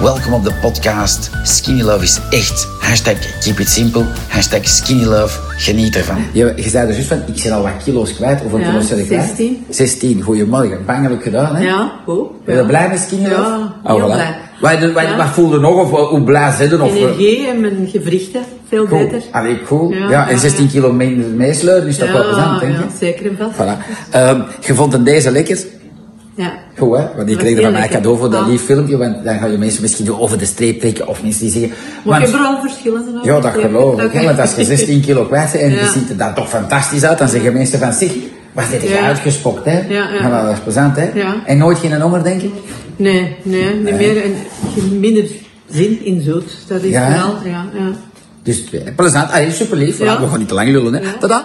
Welkom op de podcast. Skinny Love is echt. Hashtag keep it simple. Hashtag skinny love. Geniet ervan. Je, je zei er juist van, ik ben al wat kilo's kwijt. Hoeveel Ja, kilo's zijn ik kwijt? 16. 16, goeiemorgen. Bangelijk gedaan, hè? Ja, goed. Ben je ja. er blij met skinny love? Ja, Oh, heel voilà. blij. Wat, wat, Ja. wat voelde nog? Of eh, hoe blij zijn er? Of, eh, Energie en mijn gewrichten, veel cool. beter. Allee, cool. Ja, Ja, en ja, 16 kilo minder meesleuren is toch wel plezant, denk ja, ik? zeker en vast. Voilà. Ehm, je vond hem deze lekker? Ja. Goed, hè? Want ik Dat kreeg er is van heel mij lekker. cadeau voor dat Ah. lief filmpje, want dan gaan je mensen misschien over de streep trekken of mensen die zeggen... Maar want- je hebt er wel verschillen zijn Ja, dat geloof ik. hè, Want als je 16 kilo kwijt bent en je Oh, Ja. ziet er dan toch fantastisch uit, dan zeggen mensen van zich, wat zit je Ja. uitgespokt, hè? Ja, ja. Nou, dat is plezant, hè? Ja. En nooit geen honger, denk ik? Nee, nee, niet meer. En je hebt minder zin in zoet. Dat is Ja, hè? wel, ja, ja. Dus eh, plezant. Allee, super lief. Ja. We gaan niet te lang lullen, hè? Tada!